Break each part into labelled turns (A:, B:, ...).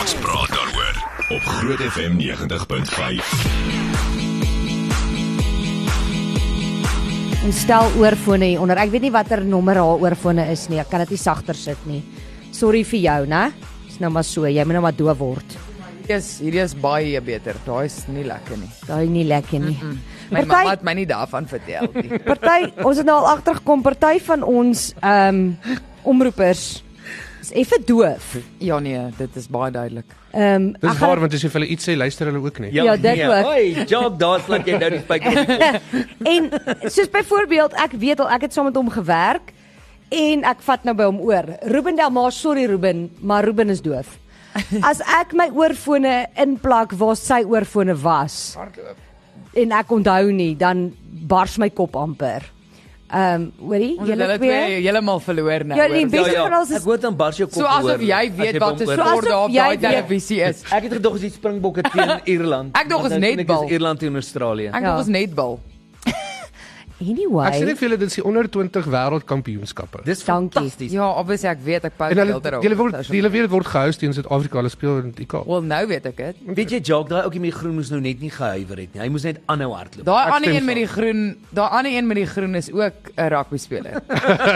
A: Ons praat daaroor op Groot FM 90.5.
B: Ons stel oorfone hier onder. Ek weet nie watter nommer haar oorfone is nie. Ek kan dit nie sagter sit nie. Sorry vir jou, né? Dis nou maar so. Jy moet nou maar doof word.
C: Hierdie is hierdie is baie beter. Daai is nie lekker nie.
B: Daai nie lekker nie.
C: My
B: Party-
C: mamma het my nie daarvan vertel nie.
B: Party, ons het nou al agtergekom party van ons ehm um, omroepers is effe doof.
C: ja nee, dit is baie duidelik.
B: Ehm um,
D: Dis waar want as jy vir hulle iets sê, luister hulle ook nie.
B: Ja, Ja, dit nee. ook.
E: Hoi, job daar laat jy nou die spyker op.
B: en soos byvoorbeeld ek weet al ek het saam met hom gewerk en ek vat nou by hom oor. Ruben Delmar, sorry Ruben, maar Ruben is doof. As ek my oorfone inplak waar sy oorfone was en ek onthou nie, dan bars my kop amper. Ehm, um, hoorie,
C: Ons het
B: julle
C: hulle
B: twee.
C: twee heeltemal verloor nou.
B: Ja,
C: hoor.
B: die beste- van ons is-
E: Ek hoor dan bars jou kop
C: So asof
E: oor,
C: jy
E: as
C: weet
E: by
C: wat
E: hom
C: 'n
E: oor-
B: So
C: sport daar op
B: asof jy
C: daai
B: weet.
C: televisie is.
E: Ek het gedog as die Springbokke teen Ierland.
C: Ek dog is
E: Want nou sien
C: netbal.
E: Is Ierland teen Australië.
C: Ek
B: Ja.
C: dink ons netbal.
B: Anyway.
D: Ek sê net vir julle dit is die onder 20 wêreldkampioenskappe.
E: Dis
B: Dankie.
E: fantasties.
C: Ja, obviously ek weet ek pas
D: En hulle
C: heeltemal.
D: julle word julle weet dit word gehou teen Suid-Afrika. Hulle speel in die IK.
B: Oh,
C: Wel nou weet ek dit.
E: Weet jy Jock, daai ouetjie met die groen moes nou net nie gehuiwer het nie. Hy moes net aanhou hardloop.
C: Daai
D: Ek
C: ander
D: stem
C: een met
D: saam.
C: die groen, daai ander een met die groen is ook 'n rugby speler.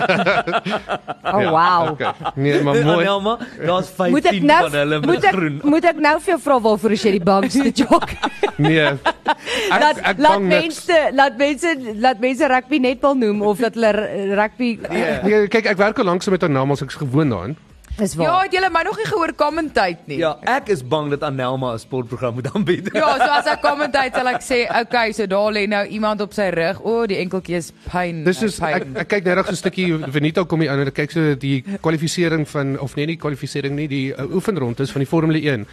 B: Oh
E: Ja,
B: wow.
D: Okay. Nee, maar mooi.
E: Eh, Anelma, daar's 15
B: Moet ek nou
E: van hulle
B: moet
E: met
B: ek
E: groen.
B: moet ek nou vir jou vra waarvoor is jy die bangste jog?
D: Nee. Ek
B: Laat
D: ek
B: laat
D: bang niks.
B: mense laat mense laat mense rugby netbal noem of dat hulle r- rugby
D: Nee, kyk, ek werk al lank saam met Anelma, so ek's gewoond daaraan.
B: is
C: Ja,
B: waar.
C: het julle my nog nie gehoor kommenteit nie.
E: Ja, ek is bang dat Anelma 'n sportprogram moet aanbied.
C: Ja, so as ek kommenteit sal ek sê, okay, so daar lê nou iemand op sy rug. O, oh, die enkeltjie is pyn.
D: Dis is ek,
C: pyn.
D: ek kyk net reg so 'n stukkie Venita kom hier aan en ek kyk so die kwalifisering van of nee nie kwalifisering nie, die uh, oefenrondes van die Formule 1.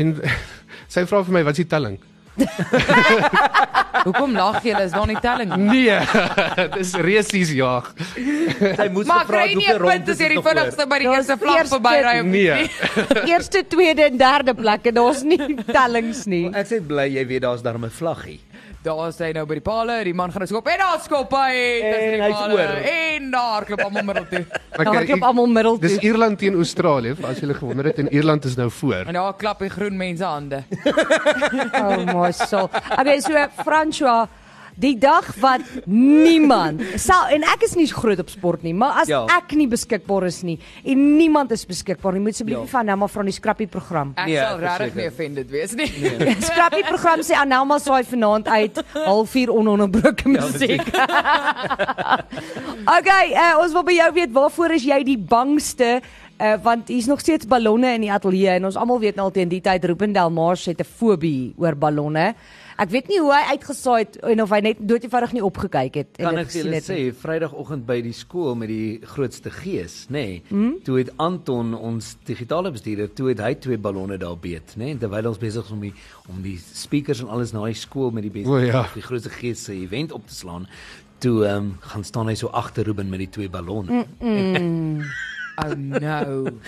D: En sy vra vir my, wat is die telling?
C: Hoekom lag julle? Is daar nie telling nie?
D: Nee, dis resies jag.
E: Sy moes
C: Ja, Maar kry
E: gevra het
C: nie 'n punt
E: hoeveel rondes
C: as jy
E: is
C: die
E: nog oor.
C: vinnigste by die
B: Daar
C: eerste
B: is
C: vlak
B: eerste-
C: verby ry.
D: Nee.
B: Eerste, tweede en derde plek en daar's nie tellings nie.
E: Ek sê bly jy weet daar's darm 'n vlaggie.
C: Daar is hy nou by die palle, die man gaan nou skop en daar skop hy. tussen die
E: En hy's
C: palle.
E: oor.
C: En daar klop almal middel toe.
B: Daar
D: ek-
B: klop almal middel
D: Dis
B: toe.
D: Ierland teen Australië, vir as julle gewonder het en Ierland is nou voor.
C: En daar klap die groen mense hande.
B: Oh my soul. Okay, so François, die dag wat niemand sal en ek is nie so groot op sport nie, maar as
E: Ja.
B: ek nie beskikbaar is nie en niemand is beskikbaar nie, moet asseblief
E: Ja.
B: nie van nou maar van die skrappie program.
C: Ek
E: Nee,
C: sal regtig
E: verseker.
C: nie offended wees nie.
B: Nee. Skrappie program sê Anelma saai vanaand uit 0.30 ononderbroke
E: Ja,
B: musiek. okay, uh, ons wil by jou weet waarvoor is jy die bangste? Uh, want hier's nog steeds ballonne in die ateljee en ons almal weet nou al teen die tyd Ruben Delmars het 'n fobie oor ballonne. Ek weet nie hoe hy uitgesaai het en of hy net doodjevoudig nie opgekyk het en
E: Kan
B: dit
E: ek
B: gesien
E: julle
B: het. nie.
E: sê, Vrydagoggend by die skool met die grootste gees, nê? Nee, mm? Toe het Anton ons digitale bestuurder, toe het hy twee ballonne daar beet, nê, nee, terwyl ons besig is om die om die speakers en alles na die skool met die beste
D: O, ja.
E: die grootste gees se event op te slaan. Toe ehm um, gaan staan hy so agter Ruben met die twee ballonne. Mm,
C: Oh no.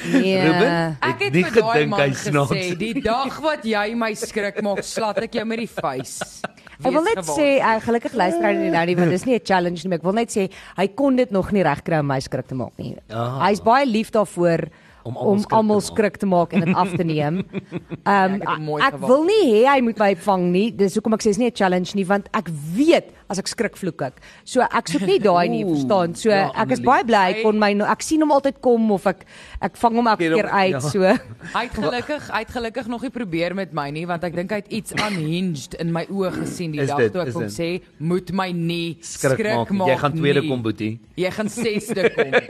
B: Nee.
E: Ruben?
C: Ek het
E: nie
C: vir daai
E: gedink hy
C: man
E: snaaks
C: gesê, die dag wat jy my skrik maak, slat ek jou met die vuis.
B: Ek wil
C: Wees
B: net
C: gewaar.
B: sê uh, gelukkig luister hy nie nou nie want dis nie 'n challenge nie. maar Ek wil net sê hy kon dit nog nie regkry om my skrik te maak nie.
E: Ah.
B: Hy's baie lief daarvoor
E: Om almal
B: om
E: skrik te
B: almal
E: maak.
B: skrik te maak en dit af te neem.
C: Ja, ek het
B: Ehm
C: hom
B: um,
C: mooi
B: ek
C: gewag.
B: wil nie hê hy moet my vang nie. Dis hoekom ek sê is nie 'n challenge nie want ek weet as ek skrik vloek ek. So ek soek nie daai nie,
E: Oeh,
B: verstaan? So
E: ja,
B: ek is
E: Annelie.
B: baie bly hy kon my no- ek sien hom altyd kom of ek ek vang hom elke
E: Ken hom,
B: keer uit
E: ja.
B: so.
C: Hy het gelukkig, hy het gelukkig nog nie probeer met my nie want ek dink hy het iets unhinged in my oë gesien die
E: Is
C: dag
E: dit-
C: toe ek
E: is
C: hom
E: dit?
C: sê, "Moet my nie skrik,
E: Skrik maak. nie. Jy gaan tweede kom, Boetie.
C: Jy gaan sesde kom."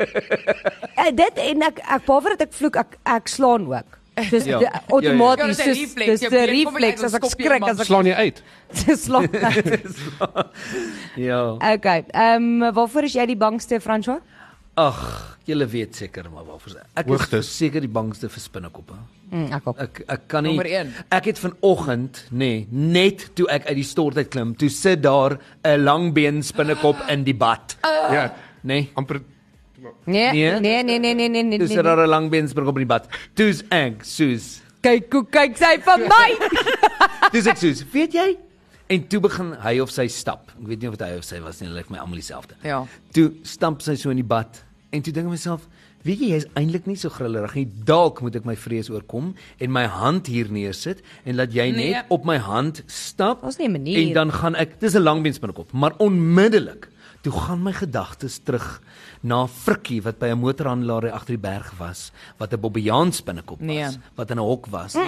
B: Uh, dit en ek ek behalwe dat ek vloek ek ek slaan ook. Dis
E: Ja.
B: ja. outomaties
C: Ja, ja, ja.
B: dis
C: Ja,
B: dis
C: dis 'n refleks.
B: 'n
C: Jou been kom
B: refleks
C: uit,
B: as
C: dan
B: ek
C: skop jy
B: skrik
C: iemand.
B: as ek
D: Slaan jy uit.
B: dis slaan.
E: Ja.
B: Okay. Ehm um, waarvoor is jy die bangste François?
E: Ag, julle weet seker maar waarvoor. Ek
D: Hoogtes.
E: is seker die bangste vir spinnekoppe.
B: Mm, ek ook.
E: Ek ek kan nie
C: Nommer een.
E: Ek het vanoggend, nê, nee, net toe ek uit die stort uit klim, toe sit daar 'n langbeen spinnekop in die bad,
D: Ja,
E: nê? Nee.
D: amper
B: Nee, nee,
E: Nee.
B: nee, nee, nee, nee, nee. nee,
E: Toe sit daar 'n langbeen spinnekop in die bad. Toe's ek, soos.
B: Kyk hoe kyk sy vir my.
E: Toe's ek soos. Weet jy? En toe begin hy of sy stap. Ek weet nie of dit hy of sy was nie, hulle lyk my almal dieselfde.
C: Ja.
E: Toe stamp sy so in die bad en toe dink ek myself, weet jy, jy's eintlik nie so grillerig nie. Dalk moet ek my vrees oorkom en my hand hier neersit en laat jy net
C: Nee.
E: nee. op my hand stap.
B: Daar's nie 'n manier.
E: En dan gaan ek, dis 'n langbeensbinnekop, maar onmiddellik toe gaan my gedagtes terug na Frikkie wat by 'n motorhandelaar agter die berg was, wat 'n Bobbejaans binnekop was,
C: Nee.
E: wat in 'n hok was.
B: Mm.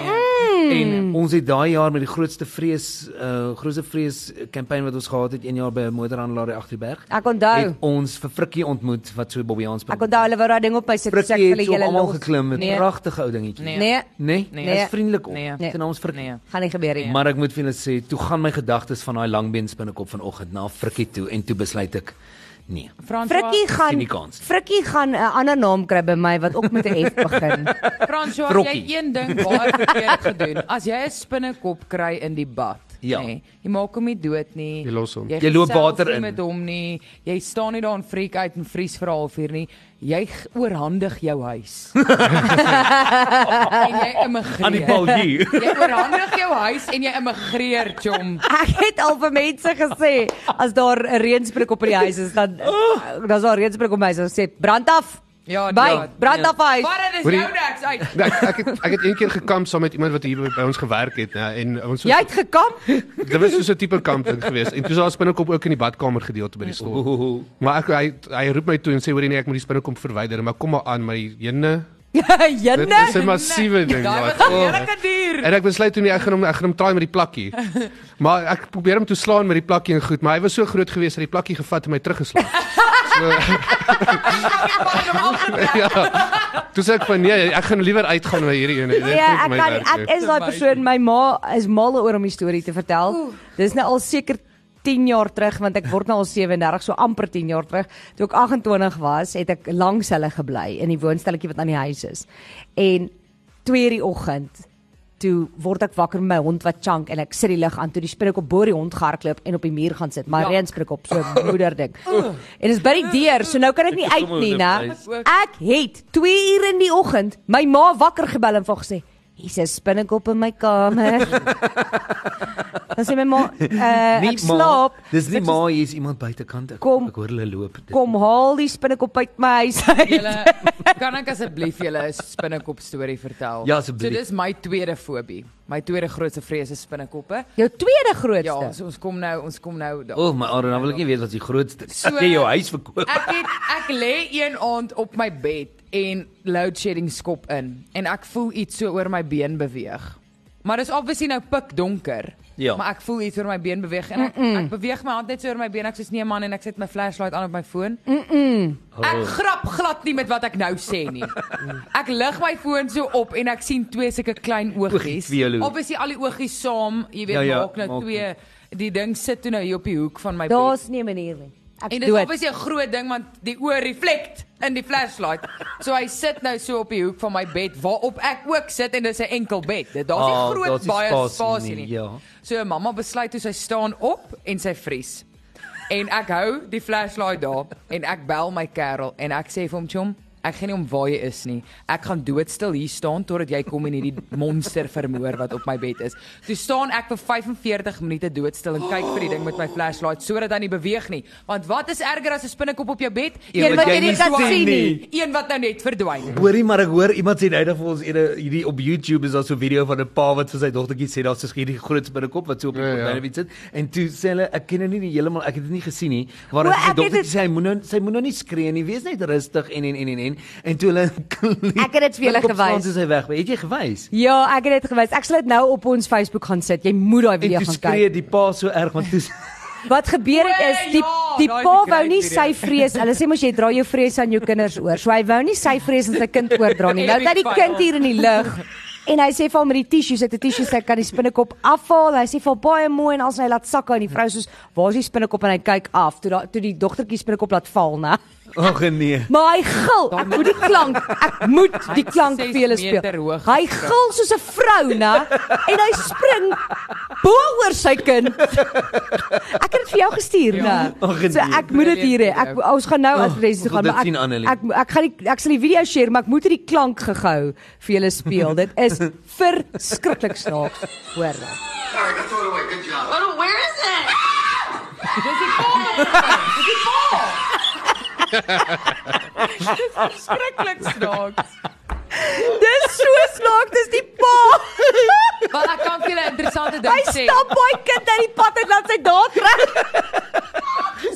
E: En ons het daai jaar met die grootste vrees, uh grootste vrees kampanje wat ons gehad het, een jaar by 'n motorhandelaar agter die berg.
B: Ek onthou.
E: Het ons vir Frikkie ontmoet wat so 'n Bobbejaans
B: Ek onthou hulle wou daai ding op my sit sê
E: Frikkie
B: vir
E: het so
B: julle
E: almal
B: los.
E: geklim met 'n
C: Nee.
E: pragtige ou dingetjie.
C: Nee.
B: Nee,
E: Nee,
C: Nee.
E: nee, is vriendelik op.
C: Nee.
E: Nee. Sy naam is Frikkie.
C: Nee.
B: gaan nie gebeur nie.
E: Maar ek moet vir julle sê, toe gaan my gedagtes van daai langbeens binnekop vanoggend na Frikkie toe en toe besluit ek nee.
C: François,
B: Frikkie
E: sien
B: gaan
E: die kans.
B: Frikkie gaan 'n ander naam kry by my wat ook met 'n F begin.
C: François,
E: Frokkie.
C: jy het een ding baie verkeerd gedoen. As jy 'n spinnekop kry in die bad,
E: Ja.
C: nê, jy maak hom nie dood nie.
D: Jy los hom.
E: Jy loop
C: gesels
E: water
C: nie
E: in.
C: met hom nie. Jy staan nie daar en freak uit en vries vir 'n halfuur nie. Jy g- oorhandig jou huis. en jy immigreer.
E: Paulje.
B: Eh,
C: Jy oorhandig jou huis en jy immigreer, chom.
B: Ek het al vir mense gesê as daar 'n reënspreek op in die huis is dan eh, dan sal reënspreek op my huis dan sê brand af.
C: Ja,
B: by
C: ja,
B: brand
C: ja.
B: af huis.
C: Maar dit is
D: Hoorie-
C: jou niks uit.
D: Nee, Ek ek het, ek het een keer gekamp saam met iemand wat hier by, by ons gewerk het, né, en ons
B: Jy het gekamp.
D: dit was so 'n tipe kamp ding geweest. En toe sou ons binnekop ook in die badkamer gedeelte by die skool. Maar ek hy hy roep my toe en sê hoor jy nee, ek moet die spinnekom verwyder, maar kom maar aan my jene.
B: Ja,
D: Dit is
B: Jenne.
D: 'n massiewe ding.
C: Daai
D: daai.
C: was
E: Oh.
C: 'n heerlike dier.
D: En ek besluit toe nie ek gaan hom ek gaan hom try met die plakkie. Maar ek probeer hom toe slaan met die plakkie en goed, maar hy was so groot geweest dat die plakkie gevat en my teruggeslaan. ja. Toe sê ek van nee, ek gaan liewer uitgaan met hierdie een. Dit moet
B: Ja,
D: my
B: ek kan
D: werk
B: ek
D: nie.
B: is daai persoon. My ma is mal oor om die storie te vertel. Dis nou al seker 10 jaar terug want ek word nou al 37, so amper 10 jaar terug. Toe ek 28 was, het ek langs hulle gebly in die woonstelletjie wat aan die huis is. En 2:00 die oggend toe word ek wakker met my hond wat chunk en ek sit die lig aan toe die spinnekop bo die hond gehardloop en op die muur gaan sit. My
C: Ja.
B: reënspinnekop so 'n moederding. en dis by die deur, so nou kan ek nie
E: Ek is
B: uit
E: sommer
B: nie,
E: in
B: né?
E: die
C: huis.
B: Ek het 2 uur in die oggend my ma wakker gebel en vir haar gesê Hier's 'n spinnekop in my kamer. Dan sê my ma, uh, ek slaap.
E: Dis nie
B: Ek sê,
E: maar hier is iemand buitekant. Ek,
B: Kom.
E: ek hoor hulle loop. Dit-
B: Kom haal die spinnekop uit my huis uit.
C: Julle kan ek asseblief julle 'n spinnekop storie vertel?
E: Ja,
C: so
E: asseblief.
C: dis my tweede fobie. My tweede grootste vrees is spinnekoppe.
B: Jou tweede
C: Ja,
B: grootste.
C: ons, ons kom nou, ons kom nou daar.
E: O, oh, maar Aaron, dan wil ek nie weet wat die grootste.
C: So-
E: So, jy jou huis verkoop.
C: Ek het ek lê een aand op my bed en load shedding skop in en ek voel iets so oor my been beweeg. Maar dis obviously nou pik donker.
E: Ja.
C: Maar ek voel iets oor my been beweeg en ek, ek beweeg my hand net so oor my been. Ek sê nee man en ek sit my flashlight aan op my foon.
E: Oh.
C: Ek grap glad nie met wat ek nou sê nie. Ek lig my foon so op en ek sien twee sulke klein oogies.
E: Oogies, twee hulle.
C: Obviously al die oogies saam, jy weet
E: Ja, ja,
C: maak nou
E: maak
C: twee. Die ding sit toe nou hier op die hoek van my bed.
B: Daar's nie 'n manier nie. Ek
C: En
B: is
C: dit is
B: dood.
C: obviously 'n groot ding want die oë reflect in die flashlight. So hy sit nou so op die hoek van my bed waarop ek ook sit en dis 'n enkel bed. Dit daar's nie
E: Ah,
C: groot
E: daar's nie
C: baie
E: spasie
C: spasie
E: nie,
C: nie.
E: ja.
C: So mamma besluit toe sy staan op en sy vries. En ek hou die flashlight daar en ek bel my kerel en ek sê vir hom, "Chom, ek gaan nie om waar jy is nie. Ek gaan doodstil hier staan totdat jy kom en hierdie monster vermoor wat op my bed is." Toe staan ek vir 45 minute doodstil en kyk vir die ding met my flashlight sodat hy nie beweeg nie. Want wat is erger as 'n spinnekop op jou bed?
E: Een wat Ja, jy nie
C: swaai
E: sien nie.
C: Een wat nou net verdwyn.
E: Hoorie, maar ek hoor iemand sê nou dat vir ons ene- hierdie op YouTube is daar so 'n video van 'n pa wat vir sy dogtertjie sê daar's so hierdie groot binnekop wat so op die
D: Ja, ja.
E: konyn sit en toe sê hulle ek ken nou nie die heeltemal ek het dit nie gesien nie waar
B: O,
E: hy sy
B: ek het
E: dogtertjie sê hy moet nou sy moet nou nie skree nie wees net rustig en en en en en en toe hulle
B: Ek het dit vir julle
E: binnekop slaan,
B: gewys.
E: toe is hy weg het jy gewys
B: Ja, ek het dit gewys. Ek sal dit nou op ons Facebook gaan sit. Jy moet daai
E: en
B: video
E: toe
B: gaan kyk.
E: skree die pa so erg want toe
B: Wat gebeur het is die
C: Ja,
B: die
C: daai is
B: pa
C: die
B: wou nie
C: great
B: sy vrees. Hulle sê mos jy dra jou vrees aan jou kinders oor. So hy wou nie sy vrees aan sy kind oordra nie. Nou dat die kind hier in die lug en hy sê vir hom met die tissues, hy het 'n tissue sy kan die spinnekop afhaal. Hy sê vir hom baie mooi en as hy laat sak en die vrou soos, "Waar is die spinnekop?" en hy kyk af. Toe da, toe die dogtertjie spinnekop laat val, né?
E: ag nee
B: Maar hy gil. Ek moet die klank, ek moet die klank
C: Hy het
B: vir julle
C: ses meter
B: speel.
C: hoog
B: Hy
C: gespring.
B: gil soos 'n vrou, né? En hy spring bo oor sy kind. Ek het dit vir jou gestuur,
C: Ja.
B: né?
E: Ag, nee.
B: So ek moet dit hier hê. Ek ons gaan nou
E: Oh,
B: as res toe
E: ons wil
B: gaan.
E: dit
B: maar
E: sien, Annelie.
B: Ek, ek ek gaan die, ek sal die video share, maar ek moet hierdie klank gegou vir julle speel. Dit is verskriklik snaaks,
F: All
B: hoor. nou.
F: right, I throw it away. Good job.
G: Oh, where is it?
C: Dis die pa. Dis die pa. Skrikkelik snaaks.
B: Dis so snaaks, dis die pa.
C: Maar ek kan vir julle 'n interessante
B: Hy
C: ding sê.
B: stap baie kind uit die pad en laat sy daar trek.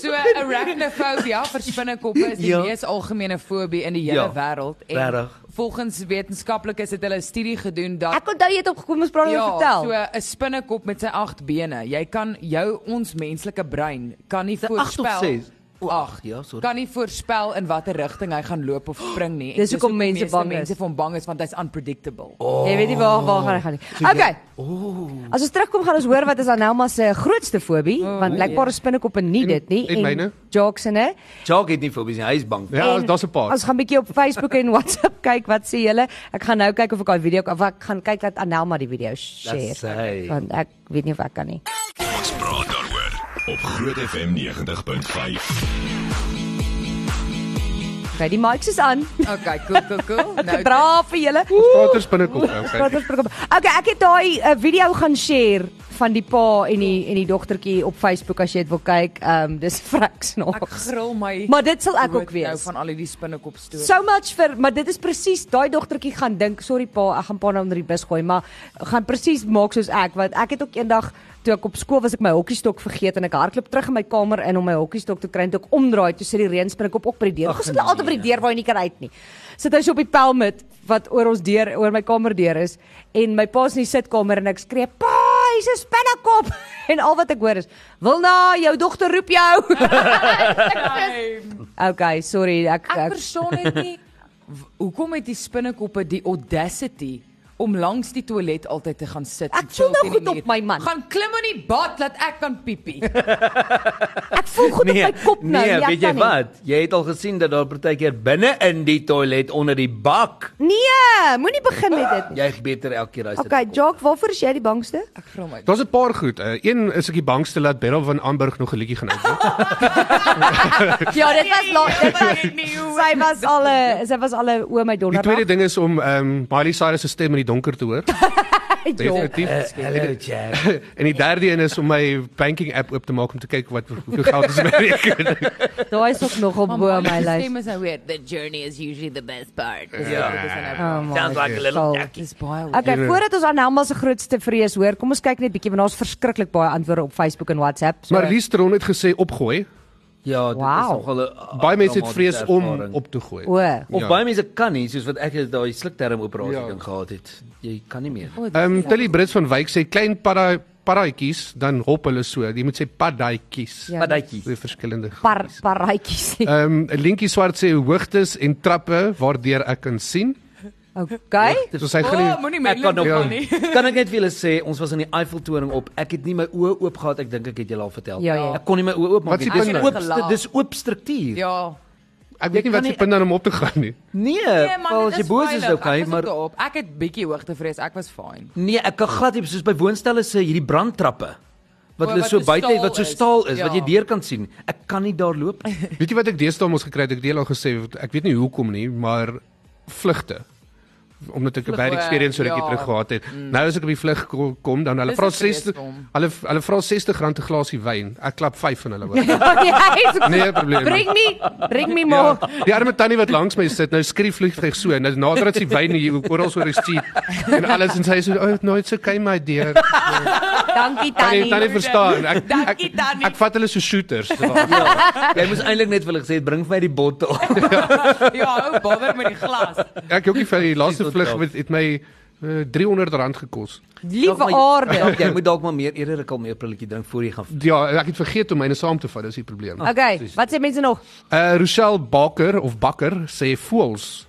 C: So arachnophobia vir spinnekoppe is die
E: Ja.
C: mees algemene fobie in die hele
E: Ja,
C: wêreld en
E: regtig.
C: volgens wetenskaplikes het hulle 'n studie gedoen dat
B: Ek onthou jy het opgekom ons praat oor
C: Ja, so
B: vertel.
C: 'n spinnekop met sy agt bene. Jy kan jou ons menslike brein kan nie
E: agt of
C: voorspel.
E: ses? O,
C: Ag,
E: agt, ja, sorry.
C: Kan nie voorspel in watter rigting hy gaan loop of spring nie. En
B: Dis hoekom mense
C: meeste
B: bang is. Oh.
C: Mense vir hom bang is want hy's unpredictable.
B: Jy weet nie waar
D: Oh,
B: waar gaan hy gaan nie. Okay. As ons terugkom gaan ons hoor wat is Anelma se grootste fobie, want blykbaar is spinnekoppe nie
D: En-
B: dit nie
D: en myne?
B: jokes en
E: Jacques het nie fobies nie, hy is bang.
D: Ja,
B: En
D: daar's 'n paar.
B: Ons gaan bietjie op Facebook en WhatsApp kyk wat sê julle. Ek gaan nou kyk of ek daai video of ek gaan kyk dat Anelma die video share.
E: Dis hy.
B: Want ek weet nie of ek kan nie.
A: Ons praat daaroor op Groot FM 90.5.
B: Okay, die mics is aan.
C: Okay, cool, cool, cool.
B: Nou, Braaf vir julle.
D: Praat oor spinnekoppe.
B: Praat
D: Okay.
B: ons program. Okay, ek het daai uh, video gaan share van die pa en die en die dogtertjie op Facebook as jy dit wil kyk. Ehm um, dis vrek
C: ek
B: snaaks.
C: gril my.
B: Maar dit sal ek
C: dood
B: ook wees.
C: Nou van al hierdie spinnekop stories.
B: So much vir, maar dit is presies daai dogtertjie gaan dink, sorry pa, ek gaan pa nou onder die bus gooi, maar gaan presies maak soos ek want ek het ook eendag toe ek op skool was ek my hokkiestok vergeet en ek hardloop terug in my kamer in om my hokkiestok te kry en toe ek omdraai toe sit die reënspring op op by die deur. Ons sit altyd by die deur waar jy nie kan uit nie. Sit hy so op die pelmit wat oor ons deur oor my kamerdeur is en my pa's in die sitkamer en ek skree pa, hy's 'n spinnekop en al wat ek hoor is wil na jou dogter roep jou.
C: Hey,
B: okay, sorry, ek,
C: Ek
B: ek
C: verstaan dit nie. W- Hoekom het die spinnekoppe die audacity om langs die toilet altyd te gaan sit? en
B: Ek voel
C: chill
B: nou
C: teen die
B: goed op
C: muur?
B: my man.
C: Gaan klim in die bad laat ek kan piepie.
B: ek voel goed op my kop nou.
E: nee,
B: nie, ek
E: weet jy
B: kan nie.
E: wat? Jy het al gesien dat daar partykeer binne in die toilet onder die bak
B: Nee, moenie begin met dit. nie.
E: jy beter elke keer hy's
B: Okay, Jock, waarvoor is jy die bangste?
C: Ek vra my.
D: Daar's 'n paar goed. Uh, een is ek die bangste laat Beryl van Amberg nog 'n liedjie gaan uitbring.
B: Ja, dit was laat. Dit was sy was al 'n sy was al 'n o my
D: Die
B: donder.
D: tweede ding is om ehm um, Miley Cyrus se stem in die donker te hoor.
B: Ja.
D: Definitief.
E: Hallo Jack.
D: En die derde een is om my banking app oop te maak om te kyk wat hoeveel geld is in my rekening.
B: Daai is ook nog op bo my lys.
C: Stem is nou weer. The journey is usually the best part. Dis
E: Ja.
C: dit is nou.
B: Oh my
E: Sounds like a little
B: soul.
E: ducky.
C: Dis baie. weird.
B: Okay, voordat ons aan Helma se grootste vrees hoor, kom ons kyk net bietjie want daar's verskriklik baie antwoorde op Facebook en WhatsApp. So,
D: Maar Lies Tron het gesê opgooi.
E: Ja, dit
B: Wow.
E: is nogal 'n
D: Baie mense het
E: traumatische
D: vrees om
E: ervaring.
D: op te gooi.
B: o,
E: Of
D: Ja.
E: ja. baie mense kan nie, soos wat ek het daai slukterm operasie
D: Ja.
E: ja. ding gehad het. Jy kan nie meer.
D: Ehm um, Tilly Brits van Wyk sê klein para paraatjies, dan hop hulle so. Jy moet sê padaatjies.
B: Ja.
E: Padatjie.
D: Twee verskillende. goed.
B: par paraatjies.
D: Ehm um, Linkie Swart sê hoogtes en trappe waardeur ek kan sien.
B: Okay.
D: So sy gaan
C: Oh,
D: nie
C: moenie my
E: Ek kan nog
D: Ja.
E: gaan nie. Kan ek net vir julle sê ons was in die Eiffeltoring op. Ek het nie my oë oop gehad. Ek dink ek het julle al vertel.
B: Ja, ja.
E: Ek kon nie my oë oop
D: Wat
E: maak
D: is
E: nie.
D: die
E: Dis
D: punt
C: nou?
E: oop, stu- dis oop struktuur. Ja.
C: Ja.
D: ek weet nie
E: kan
D: wat se
E: nie-
D: punt dan om op te gaan nie.
E: Nee,
B: Eh,
C: Nee, man,
E: wel,
C: dit
E: as jy boos
C: veilig.
E: is, okay,
C: Ek was
E: maar
C: ook daarop. ek het bietjie hoogtevrees. Ek was fine.
E: nee, ek kan glad nie soos by woonstelle se hierdie brandtrappe wat
C: O,
E: hulle
C: wat
E: so
C: so
E: buite het
C: staal
E: wat so
C: is.
E: staal is, wat
C: Ja.
E: jy deur kan sien. Ek kan nie daar loop nie.
D: Weet jy wat ek deesdae mos gekry het? Ek het deel al gesê ek weet nie hoekom nie, maar vlugte omdat ek 'n
C: Vlug,
D: bad
C: o,
D: experience so rukkie
C: ja.
D: terug gehad het. Nou as ek op die vlug ko- kom dan hulle
C: Dis
D: vra
C: een vrees
D: 60
C: vir hom.
D: hulle hulle vra R60 'n glasie wyn. Ek klap 5 van hulle hoor.
B: Ja,
D: Nee, probleem.
B: Bring me, bring me
D: Ja,
B: more.
D: die arme tannie wat langs my sit, nou skree vliegtyg so en nou nader as die wyn hier oral so rustig en alles en sy sê so, oh, no it's okay my dear.
B: Dankie
D: Tannie, tannie
B: Tannie.
D: verstaan. Ek ek,
C: Dankie,
D: ek,
C: Tannie.
D: ek vat hulle so shooters.
E: Ja. Jy moes eintlik net vir hulle gesê het, bring vir my die bottel.
C: Ja, ou bobber met die glas.
D: Ek ook nie vir die laaste
E: Dis
D: vlug
E: ontdek.
D: met het my uh, R300 gekos.
B: Liewe
E: Dalk maar-
B: aarde.
E: Dalk Jy moet dalk maar meer eerder 'n kalmeer pilletjie drink voor jy gaan.
D: Ja, ek het vergeet om myne saam te vat, dis die probleem.
B: Okay, wat sê mense nog?
D: Uh Rochelle Bakker of Bakker sê voels.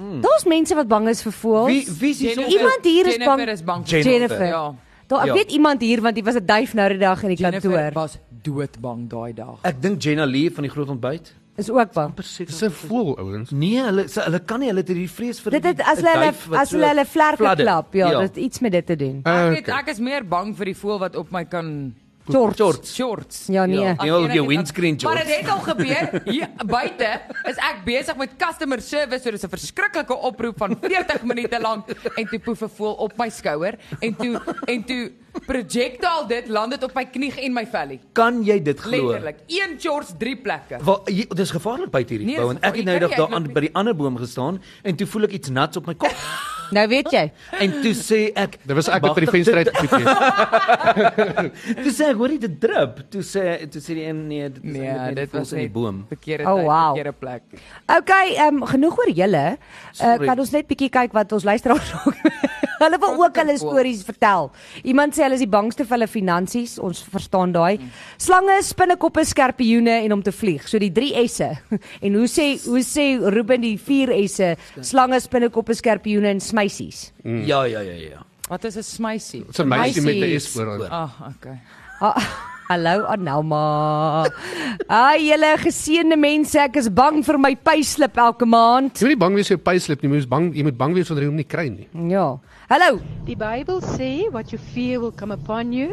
B: Daar's mense wat bang is vir voëls.
E: Mm. Wie wie is
C: Jennifer-
E: hier?
B: Iemand hier is bang-
C: Jennifer is bang.
E: Jennifer.
B: Jennifer.
C: Ja.
B: Daar ek
E: Ja.
B: weet iemand hier want hy was 'n duif nou die dag in die
C: Jennifer
B: kantoor.
C: was doodbang daai dag.
E: Ek dink Jenna Lee van die groot ontbyt.
B: Is ook bang.
D: Dis 'n voel ouens.
E: Nee, hulle sy, hulle kan nie hulle het hierdie vrees vir
B: Dit het
E: die-
B: as
E: die
B: hulle
E: duif wat
B: as
E: so
B: hulle hulle vlerke
E: fladder.
B: klap, ja, dit het iets met dit te doen.
E: Ah,
D: Uh,
C: Ek het, ek is meer bang vir die voël wat op my kan
B: Shorts.
C: shorts.
B: Ja nee.
E: Ja.
C: As
E: Nee, wel,
C: een
E: die
C: het-
E: windscreen
C: Maar dit
E: jobs.
C: het al gebeur. Hier buite is ek besig met customer service, so dis 'n verskriklike oproep van 40 minute lank en toe poef 'n voël op my skouer en toe en toe projectile dit land dit op my knie en my valley.
E: Kan jy dit glo?
C: Letterlik. Een shorts, drie plekke.
E: Wel, jy, dis gevaarlik by hierdie
C: Nee,
E: gebou
C: dis
E: en ek
C: gevaarlik.
E: het nou
C: Jy kan
E: eendag
C: nie
E: daar aan
C: uitloop
E: by die ander boom gestaan en toe voel ek iets nats op my kop
B: Nou weet jy.
E: en toe sê ek
D: Dit was ek wat by die
E: "Wagtig,
D: venster uit gekyk het.
E: dit- Toe sê ek hoor jy dit drup. Toe sê toe sê die een nee, dit is
C: Nee,
E: eintlik net die
C: dit was
E: voels in die
C: net
E: boom.
C: Verkeerde
B: Oh,
C: tyd,
B: wow.
C: verkeerde plek.
B: OK, ehm um, genoeg oor julle. Uh,
E: Sorry.
B: kan ons net bietjie kyk wat ons luisteraars ook Hulle wil ook hulle stories vertel. Iemand sê hulle is die bangste vir hulle finansies. Ons verstaan daai. Slange, spinnekoppe, skerpioene en om te vlieg. So die 3 S'e. En hoe sê hoe sê Ruben die 4 S'e? Slange, spinnekoppe, skerpioene en smeisies.
E: Ja, ja, ja, ja.
C: Wat is 'n smysie?
D: Dit's 'n meisie met 'n
B: Meisies.
D: S voor haar.
C: Ag, oh, okay.
B: Ah, Hallo Anelma. Ai julle geseënde mense, ek is bang vir my payslip elke maand.
D: Jy moet nie bang wees vir jou payslip nie, jy moet bang jy moet bang wees wanneer jy hom nie kry nie.
B: Ja. Hallo.
G: Die Bybel sê what you fear will come upon you.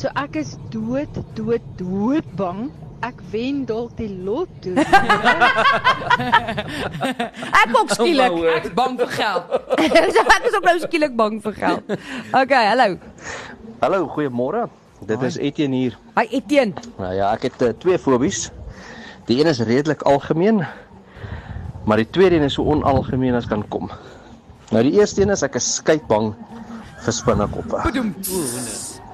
G: So ek is dood, dood, dood bang. Ek wen dalk die lotto.
B: Ek ook skielik.
C: Ek is bang vir geld.
B: ek is ook nou skielik bang vir geld. Okay, hallo.
H: Hallo, goeiemôre. Dit is Etienne hier.
B: Hi Etienne.
H: Nou ja, ek het uh, twee fobies. Die een is redelik algemeen, maar die tweede een is so onalgemeen as kan kom. Nou die eerste een is ek is skei bang vir spinnekoppe.
C: Bedoem.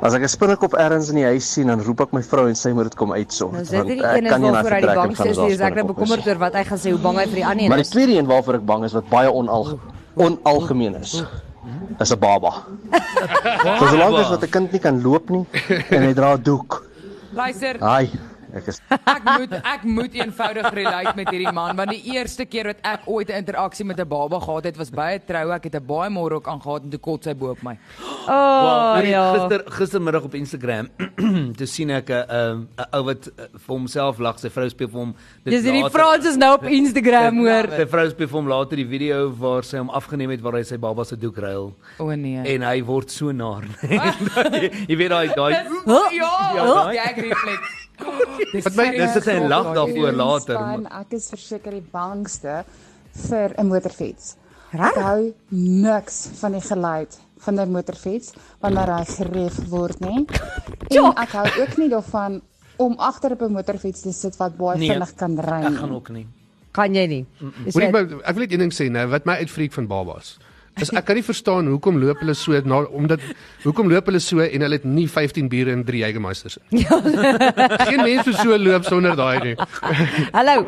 H: As ek 'n spinnekop ergens in die huis sien, dan roep ek my vrou en sy moet dit kom uitsort.
B: Ons het
H: want
B: Nou, hierdie
H: ek
B: een is
H: kan nie
B: wel
H: na
B: voor uit die
H: vertrek en
B: bank
H: gaan
B: sê
H: as daar
B: dis ek nou
H: spinnekoppe is
B: bekommerd
H: nie.
B: oor wat hy gaan sê hoe bang hy vir die ander
H: Maar
B: een
H: die
B: is.
H: tweede een waarvoor ek bang is wat baie onalge onalgemeen is, is 'n baba. Vir solank as wat 'n kind nie kan loop nie en hy dra 'n doek.
C: Luister,
H: Ai, ek is
C: ek moet ek moet eenvoudig relate met hierdie man want die eerste keer wat ek ooit 'n interaksie met 'n baba gehad het was by 'n troue. Ek het 'n baie mooi rok aangetree en toe kot sy bo op my.
B: Oh
E: Wel,
B: ja.
E: Gister gistermiddag op Instagram toe sien ek 'n um, 'n ou wat eh, vir homself lag, sy vrou speel vir hom dit
B: Dis hierdie
E: later-
B: Frans is nou op
C: eh,
B: Instagram hoor.
E: Sy vrou speel vir hom later die video waar sy hom afgeneem het waar hy sy baba se doek ruil
C: O nee.
E: en hy word so naar. nee. jy weet daai daai
C: Dis- Ja,
E: Ja,
C: ja, ek refleks.
E: Wat my dis dat hy
I: Ja,
E: lag daarvoor later.
J: Span, ek is verseker die bangste vir 'n motorfiets. Ek
B: Regtig?
J: hou niks van die geluid van 'n motorfiets wanneer hy geref word nie. En ek hou ook nie daarvan om agter op 'n motorfiets te sit wat baie
E: Nee,
J: vinnig kan ry.
E: Ek
J: nie.
E: gaan ook nie.
B: Kan jy nie. Dis
D: Hoor ek
B: jy-
D: maar- ek wil net een ding sê nou wat my uitfreek van babas. Is ek kan nie verstaan hoekom loop hulle so na omdat hoekom loop hulle so en hulle het nie 15 biere en 3 Jägermeisters nie. Geen mens sou so loop sonder daai nie.
B: Hallo.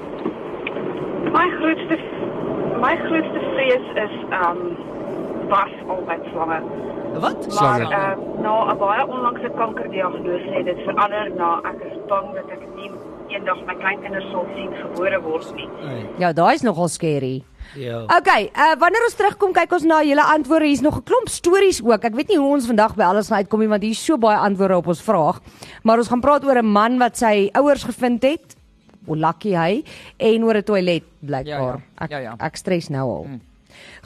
K: My grootste my grootste vrees is ehm um, was altyd slange.
E: Wat?
K: Maar
D: Slange.
K: ehm na 'n baie onlangse kankerdiagnose het dit verander na ek is bang dat ek nie eendag my kleinkinders sal sien gebore word nie.
B: Ja, daai is nogal skerry.
E: Ja.
C: Oh.
B: Okay, uh, wanneer ons terugkom kyk ons na julle antwoorde. Hier's nog 'n klomp stories ook. Ek weet nie hoe ons vandag by alles gaan uitkom nie want hier's so baie antwoorde op ons vraag. Maar ons gaan praat oor 'n man wat sy ouers gevind het. Hoe lucky hy en oor 'n toilet blykbaar.
C: Ja, ja.
B: Ek
C: Ja, Hmm. ja.
B: ek stres nou al.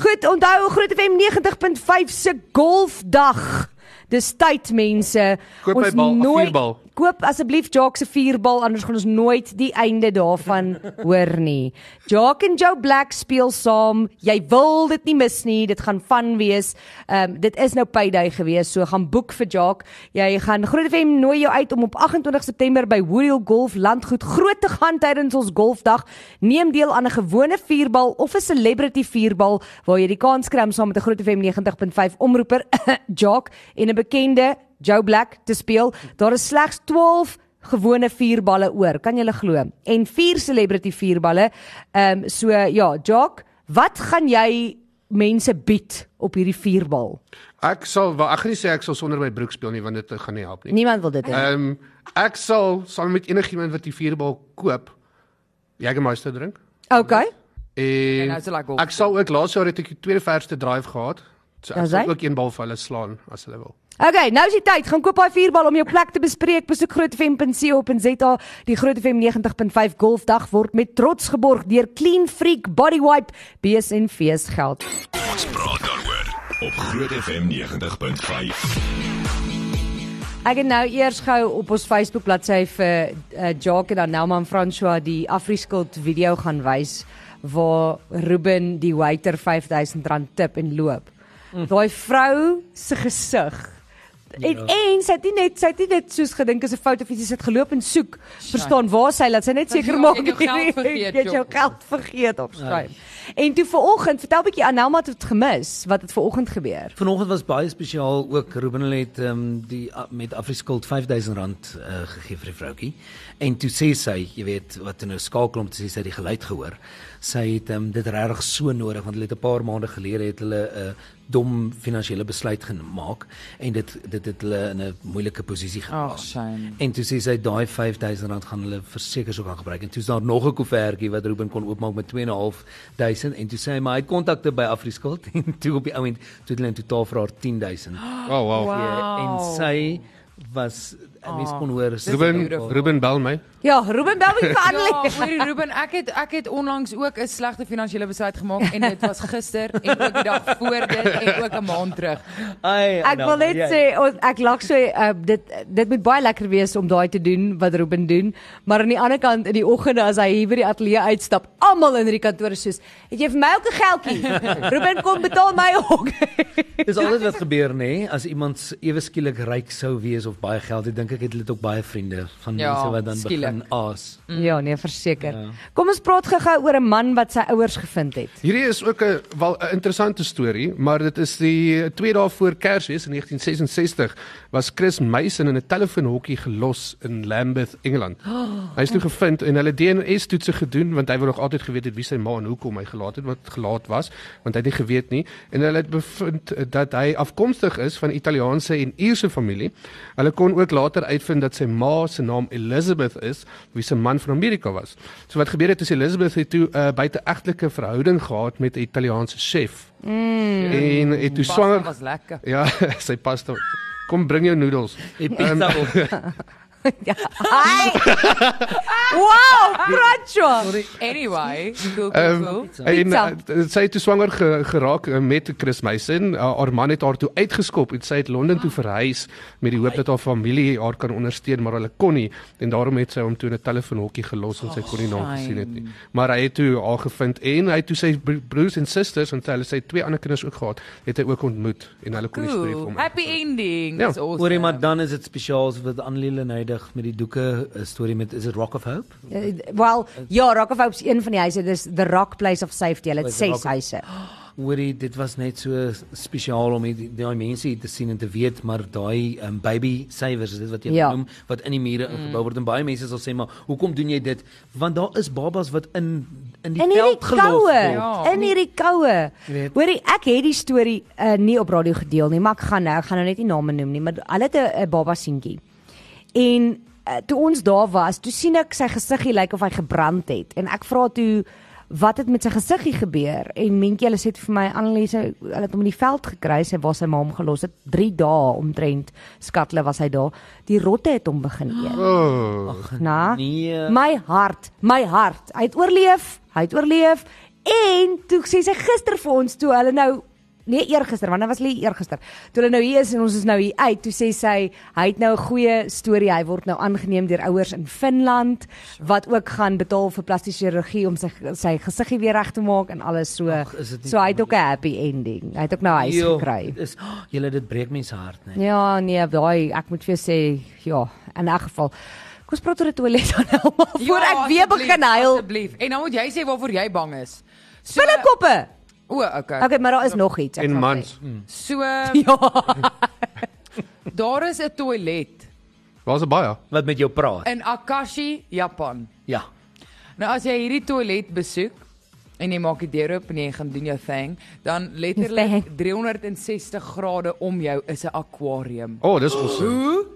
B: Goed, onthou Groot FM 90.5 se golfdag. Dis tyd mense.
D: Koop
B: Ons
D: hy bal, 'n vierbal.
B: Koop asseblief Jock se vierbal anders gaan ons nooit die einde daarvan hoor nie. Jock en Joe Black speel saam. Jy wil dit nie mis nie. Dit gaan fun wees. Ehm um, dit is nou payday gewees, so gaan boek vir Jock. Jy gaan Groot FM nooi jou uit om op 28 September by Woodhill Golf Landgoed groot te gaan tydens ons golfdag. Neem deel aan 'n gewone vierbal of 'n celebrity vierbal waar jy die kans kry om saam met 'n Groot FM 90.5 omroeper Jock en 'n bekende Joe Black te speel. Daar is slegs 12 gewone vierballe oor, kan jy glo? En vier celebrity vierballe. Ehm um, so ja, Jock, wat gaan jy mense bied op hierdie vierbal?
D: Ek sal wel, ek gaan nie sê ek sal sonder my broek speel nie want dit gaan nie help nie.
B: Niemand wil dit hê.
D: Ehm um, ek sal saam met enigiemand wat die vierbal koop Jägermeister drink.
B: Okay.
D: En
C: Ja, nou is dit like golf.
D: ek sal ook laas jaar het ek die tweede verste drive gehad. So
C: Nou
B: Ja,
D: ek sal
B: sy?
D: ook een bal vir hulle slaan as hulle wil.
B: Okay, nou is die tyd. Gaan koop daai vierbal om jou plek te bespreek. Besoek grootfm.co.za. Die Grootfm 90.5 Golfdag word met trots geborg deur Clean Freak Body Wipe, BSNV se geld.
A: Praat daaroor op Groot FM 90.5.
B: Ek het nou eers gou op ons Facebook bladsy vir uh, Jacques en dan Nelma en François die Afriskuld video gaan wys waar Ruben die waiter R5000 tip en loop. Mm. Daai vrou se gesig En
C: Ja.
B: en sy het nie net sy het nie dit soos gedink is 'n fout of iets, sy het geloop en soek, verstaan waar sy laat sy net
C: Dat
B: seker
C: jy-
B: maak
C: jy het jou geld vergeet, Ja.
B: jy het jou
C: jong.
B: geld vergeet op skryf. En toe vanoggend, vertel bietjie aan Nelma het dit gemis wat het vanoggend gebeur.
E: Vanoggend was baie spesiaal ook Ruben hulle het ehm die a- met Afriskuld R5000 uh, gegee vir die vroutjie. En toe sê sy, jy weet, wat toe nou skakel om te sê sy het die geluid gehoor. Sy het ehm dit regtig so nodig want hulle het 'n paar maande gelede het hulle 'n dom finansiële besluit gemaak en dit dit het hulle in 'n moeilike posisie geplaas.
C: Ag, shame.
E: En toe sê sy daai R5000 gaan hulle verseker sou kan gebruik. En toe's daar nog 'n koevertjie wat Ruben kon oopmaak met 2.500 en toe sê hy maar hy het kontakte by Afriskuld en toe op die ouend toe het hulle in totaal vir haar 10000.
D: Oh wow.
E: gee. En
C: Wow.
E: sy was oh, mens kon hoor sy
D: Ruben
E: het al-
D: Ruben bel my.
B: Ja, Ruben bel bietjie vir
C: Ja,
B: Annelie.
C: hoorie Ruben, ek het ek het onlangs ook 'n slegte finansiële besluit gemaak en dit was gister en ook die dag voor dit en ook 'n maand terug.
E: Ai, ja,
B: Ek wil net
E: jy-
B: sê ons- ek lag so uh, dit dit moet baie lekker wees om daai te doen wat Ruben doen, maar aan die ander kant in die oggende as hy hier by die ateljee uitstap, almal in die kantoor is soos, "Het jy vir my ook 'n geldjie? Ruben kom betaal my ook."
E: Dis altyd wat gebeur nê, nee, as iemand s- ewe skielik ryk sou wees of baie geld het, dink ek het hulle ook baie vriende van
C: Ja,
E: mense wat dan begin
C: skielik.
E: aas.
B: Ja, nee, verseker. Kom ons praat gou-gou oor 'n man wat sy ouers gevind het.
D: Hierdie is ook 'n wel 'n interessante storie, maar dit is die 2 dae voor Kersfees in 1966 was Chris Mason in 'n telefoonhokkie gelos in Lambeth, Engeland.
C: Oh.
D: Hy is toe gevind en hulle DNA-toetse gedoen want hy wou nog altyd geweet het wie sy ma en hoekom hy gelaat het wat gelaat was, want hy het nie geweet nie en hulle het bevind eh, dat hy afkomstig is van Italiaanse en Ierse familie. Hulle kon ook later uitvind dat sy ma se naam Elizabeth is, wie se man van Amerika was. So wat gebeur het is Elizabeth het toe 'n uh, buiteegtelike verhouding gehad met 'n Italiaanse chef en het toe
C: Pasta
D: swanger
C: was lekker.
D: Ja, sy pasta. Kom bring jou noedels.
E: Die pizza op.
B: Ja. Ai! wow, Pracho.
C: Anyway, cool, cool,
D: Ehm
C: cool.
D: en
B: Pizza.
D: uh, sy het toe swanger ge, geraak uh, met Chris Mason. Uh, haar man het haar toe uitgeskop en sy het Londen toe verhuis met die hoop dat haar familie haar kan ondersteun, maar hulle kon nie en daarom het sy hom toe in 'n telefoonhokkie gelos want sy kon nie na hom gesien het nie. Maar hy het toe haar gevind en hy het toe sy bro- broers en susters en sy- hulle sy twee ander kinders ook gehad, het hy ook ontmoet en hulle kon die storie vir
C: Cool.
D: hom.
C: Happy ending.
D: Ja.
C: Dis awesome.
E: Hoorie maar dan is dit spesiaal so wat Annelie Lenaedig met die doeke 'n storie met is dit Rock of Hope?
B: Uh, Wel, ja, Rock of Hope is een van die huise, dis the Rock Place of Safety. Hulle het
E: Wat
B: ses
E: is Rock-
B: huise.
E: Hoorie dit was net so spesiaal om die- daai mense hier te sien en te weet maar daai um, baby savers is dit wat jy
B: Ja. Mm.
E: ja. noem wat in die mure ingebou word en baie mense sal sê maar hoekom doen jy dit? Want daar is babas wat in in die
B: In
E: veld
B: hierdie
E: gelos
B: koue,
E: word.
C: Ja.
B: in hierdie koue.
E: weet.
B: Hoorie, ek het die storie uh, nie op radio gedeel nie, maar ek gaan nou, ek gaan nou net nie name noem nie, maar hulle het 'n 'n baba seentjie. En uh, toe ons daar was, toe sien ek sy gesiggie lyk of hy gebrand het en ek vra toe wat het met sy gesiggie gebeur en mentjie hulle sê toe vir my Annelise hulle het hom in die veld gekry sy waar sy ma hom gelos het 3 dae omtrent skatle was hy daar die rotte het hom begin eet
D: Oh.
B: na.
E: nee.
B: My hart, my hart. Hy het oorleef, hy het oorleef. En toe sê sy gister vir ons toe hulle nou nee eergister, want dit was hulle hier eergister. Toe hulle nou hier is en ons is nou hier uit, toe sê sy hy het nou 'n goeie storie. Hy word nou aangeneem deur ouers in Finland wat ook gaan betaal vir plastiese chirurgie om sy sy gesiggie weer reg te maak en alles so. Ach,
E: is dit nie-
B: so hy het ook 'n happy ending. Hy het ook nou huis
E: Jo,
B: gekry.
E: dit Is "Ah, julle dit breek mense hart net.
B: Ja, nee, daai ek moet vir jou sê, ja, in 'n geval. Kom ons praat oor 'n toilet aan Elma voor
C: Ja,
B: ek weer
C: asseblief,
B: begin huil.
C: Asseblief. En dan moet jy sê waarvoor jy bang is. So,
B: Spillekoppe.
C: O, okay.
B: Okay, maar daar is nog iets. ek
D: En
B: gaan
D: mans,
C: So
B: sê. Ja.
C: daar is 'n toilet
D: waar's hy baie?
E: Wat met jou
B: Eh.
E: praat?
C: in Akashi, Japan.
E: Ja.
C: Nou as jy hierdie toilet besoek en jy maak die deur oop en jy gaan doen jou thing, dan
B: Jou
C: letterlik
B: thing.
C: 360 grade om jou is 'n akwarium.
D: O, oh, dis awesome.
C: Hoe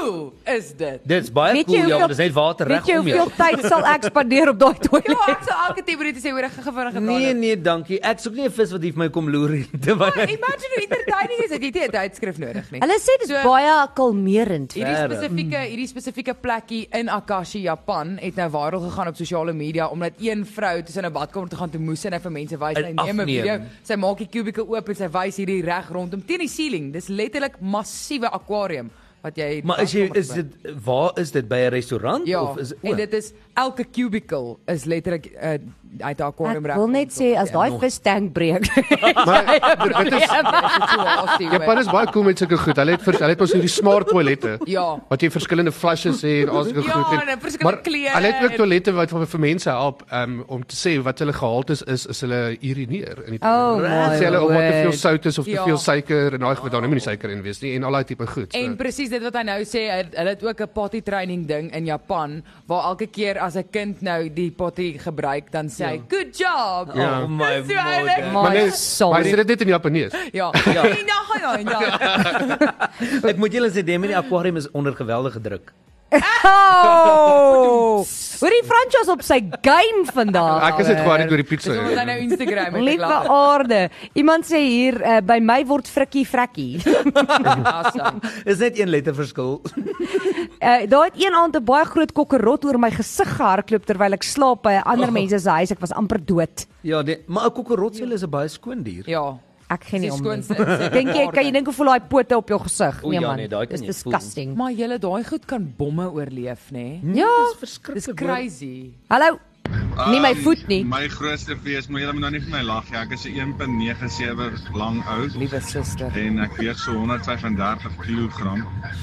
C: cool is dit?
E: Dit's baie
B: Weet jy
E: cool ja,
B: hoeveel-
E: want dis net water
B: Weet
E: reg
B: jy
E: om jou.
B: hoeveel tyd sal ek spandeer op daai
C: Ja,
B: toilet?
C: ek sou elke 10 minute sê hoor ek gaan gewinnig gedoen.
E: Nee nee, dankie. Ek soek nie 'n vis wat hier vir my kom loer nie. terwyl
B: Oh,
E: ek-
C: Imagine hoe entertaining is dit jy het nie 'n tydskrif nodig
B: nee.
C: nie.
B: Hulle sê dit is
C: So- Ja,
B: baie kalmerend.
C: Hierdie
E: Verder.
C: spesifieke hierdie spesifieke plekkie in Akashi, Japan het nou viral gegaan op sosiale media omdat een vrou tussen 'n badkamer toe gaan toe moes en hy vir mense wys
E: En
C: hy neem 'n
E: afneem.
C: video. Sy maak die kubieke oop en sy wys hierdie reg rondom teen die ceiling. Dis letterlik massiewe akwarium wat jy
E: Maar is jy is dit waar is dit by 'n restaurant
C: Ja,
E: of is
C: en dit is elke cubicle is letterlik 'n hy het haar aquarium
B: Ek wil net sê Ja, as
D: Ja,
B: daai vis tank breek.
D: Maar dit- dit is
B: Ja,
D: Japan
C: Japan
D: is baie cool met sulke goed. Hulle het vers- hulle het ons hierdie smart toilette.
C: Ja.
D: Wat jy verskillende flushes het en al sulke
C: Ja,
D: goed.
C: en verskillende
D: maar
C: kleure
D: Hulle het ook
C: en-
D: toilette wat vir, vir mense help um, om te sê wat hulle gehaltes is is hulle urineer in die
B: Oh my
D: sê hulle om wat te veel
B: word.
D: sout is of te
C: Ja.
D: veel suiker en daai goed dan moet nie suiker in wees nie en al daai tipe goed.
C: En
D: So.
C: presies dit wat hy nou sê, hy- hulle het ook 'n potty training ding in Japan waar elke keer as 'n kind nou die potty gebruik, dan sê hy, "Good job."
D: Ja.
E: Oh my
C: Dis so oulik.
E: god.
B: My
D: Maar sê
B: sorry.
D: dit net in Japanees.
C: Ja.
E: Ja.
C: Nee, nou gaan hy. ja.
E: Ek moet julle sê Demi, die aquarium is onder geweldige druk.
B: Oh! Hoorie Franchos op sy game vandag.
D: Ek is net gewaar deur die pizza.
C: Dis omdat hy nou Instagram het. ek
B: Liewe
C: lag.
B: aarde. Iemand sê hier uh, by my word frikkie frekkie.
C: Awesome.
E: Is net een letter verskil.
B: Uh, daar het een aand 'n baie groot kokkerot oor my gesig gehardloop terwyl ek slaap by 'n
E: Oh.
B: ander mense se huis. Ek was amper dood.
E: Ja, nee, maar 'n kokkerrotsel is 'n baie skoon dier.
C: Ja.
B: Ek geen nie
C: Dis
B: om.
C: die
B: nie.
C: skoonste insek
B: Dink jy kan jy dink hoe voel daai pote op jou gesig?
E: O,
B: Nee
E: ja,
B: man.
E: nee, daai kan
B: Dis
E: jy voel.
B: disgusting.
C: Maar julle daai goed kan bomme oorleef, nê? Nee?
B: Ja.
C: Dis
E: Dis verskriklik. hoor.
C: crazy.
B: Hallo. Nie my voet nie.
L: My grootste fees, maar julle moet nou nie vir my lag nie. Ek is 'n 1.97 lang oud
C: Liewe suster.
L: en ek weeg so 135 kg.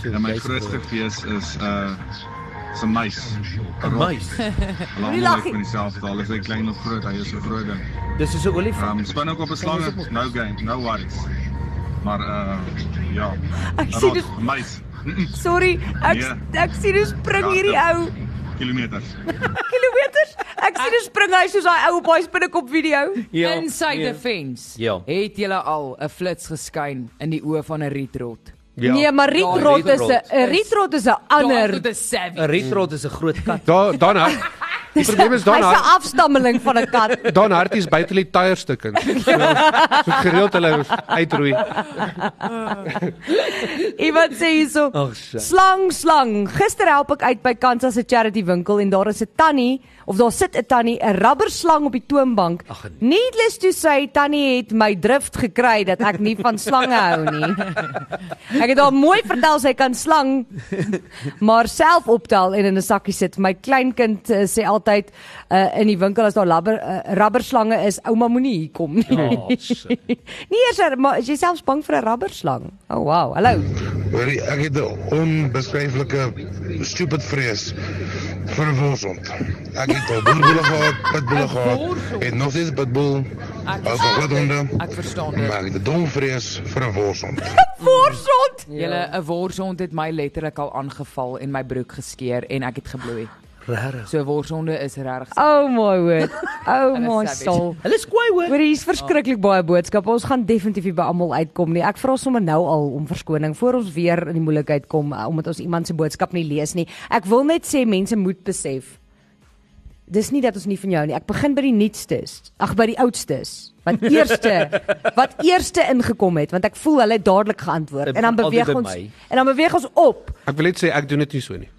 L: En my
E: jy's
L: grootste fees is 'n uh, se muis.
E: Muis.
L: Lang
B: Moenie lag
L: lag
B: nie.
L: vir myself daal is hy klein of groot, hy is so groot ding.
E: Dis soos 'n olifant.
L: Um span ook op 'n slange, no game, no worries. Maar uh ja.
B: Ek sien dit.
L: Rot, muis. Mm-mm,
B: Sorry. Ek
L: Nee.
B: ek sien hoe spring
L: Ja,
B: hierdie
L: dit-
B: ou
L: Kilometers.
B: kilometers. Ek sien hoe spring hy soos daai ou op daai spinnekop video.
E: Ja,
C: In sy
E: nee.
C: defense
E: Ja.
C: het julle al 'n flits geskyn in die oë van 'n rietrot.
D: Ja.
B: Nee, maar rietrot is 'n
E: rietrot Ja,
B: een rietrot is 'n ander.
C: Dit is
E: 'n
C: savage.
E: Retrot is 'n groot kat.
D: Daar dan hard. Die probleem is dan
B: Hy's 'n
D: hard.
B: afstammeling van 'n kat.
D: Dan hard is buite die tierstukke. So, so gereeld hulle uitroei.
B: Iemand sê hierso.
E: Ag, sy.
B: Slang, slang. Gister help ek uit by Kansas se charity winkel en daar is 'n tannie of daar sit 'n tannie 'n rubberslang op die toonbank.
E: Ag, nee.
B: Needless to say, tannie het my drift gekry dat ek nie van slange hou nie. Ek het haar mooi vertel sy kan slang, maar self optel en in 'n sakkie sit. My kleinkind uh, sê altyd uh, in die winkel as daar labber, uh, rubberslange is, ouma moenie hier kom nie.
E: Oh, shit.
B: Nee, eers, maar is jy selfs bang vir 'n rubberslang? Oh wow, hallo.
M: Hoorie, ek het 'n onbeskryflike stupid vrees vir 'n wolfshond. Ek het al boerboele gehad, pitbulle gehad en nog steeds pitbull. As nog wat honde.
C: Ek verstaan dit.
M: Maar ek het 'n dom vrees vir 'n wolfshond.
B: Voorsond.
C: Julle 'n worshond het my letterlik al aangeval en my broek geskeur en ek het gebloei.
E: Regtig.
C: So worshonde is regtig
B: Oh my word. Oh my
C: savage.
B: soul.
E: Hulle is kwaai hoor.
B: Hoor hier's verskriklik baie boodskappe. Ons gaan definitief nie by almal uitkom nie. Ek vra sommer nou al om verskoning voor ons weer in die moeilikheid kom eh, omdat ons iemand se boodskap nie lees nie. Ek wil net sê mense moet besef. Dis nie dat ons nie van jou nie. Ek begin by die nuutstes. Ag by die oudstes. Wat eerste wat eerste ingekom het want ek voel hulle het dadelik geantwoord en dan
E: Altyd
B: beweeg
E: by
B: ons
E: my.
B: en dan beweeg ons op.
D: Ek wil net sê ek doen dit nie so nie.